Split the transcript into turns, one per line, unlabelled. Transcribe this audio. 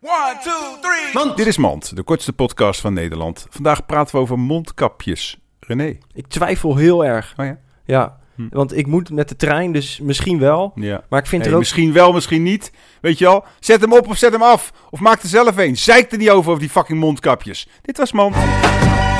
One, two, three.
Dit is Mand, de kortste podcast van Nederland. Vandaag praten we over mondkapjes. René.
Ik twijfel heel erg.
Oh ja?
Ja,
Hm.
want ik moet met de trein, dus misschien wel.
Ja.
Maar ik vind
Hey,
er ook...
Misschien wel, misschien niet. Weet je al? Zet hem op of zet hem af. Of maak er zelf een. Zeik er niet over, over die fucking mondkapjes. Dit was Mand.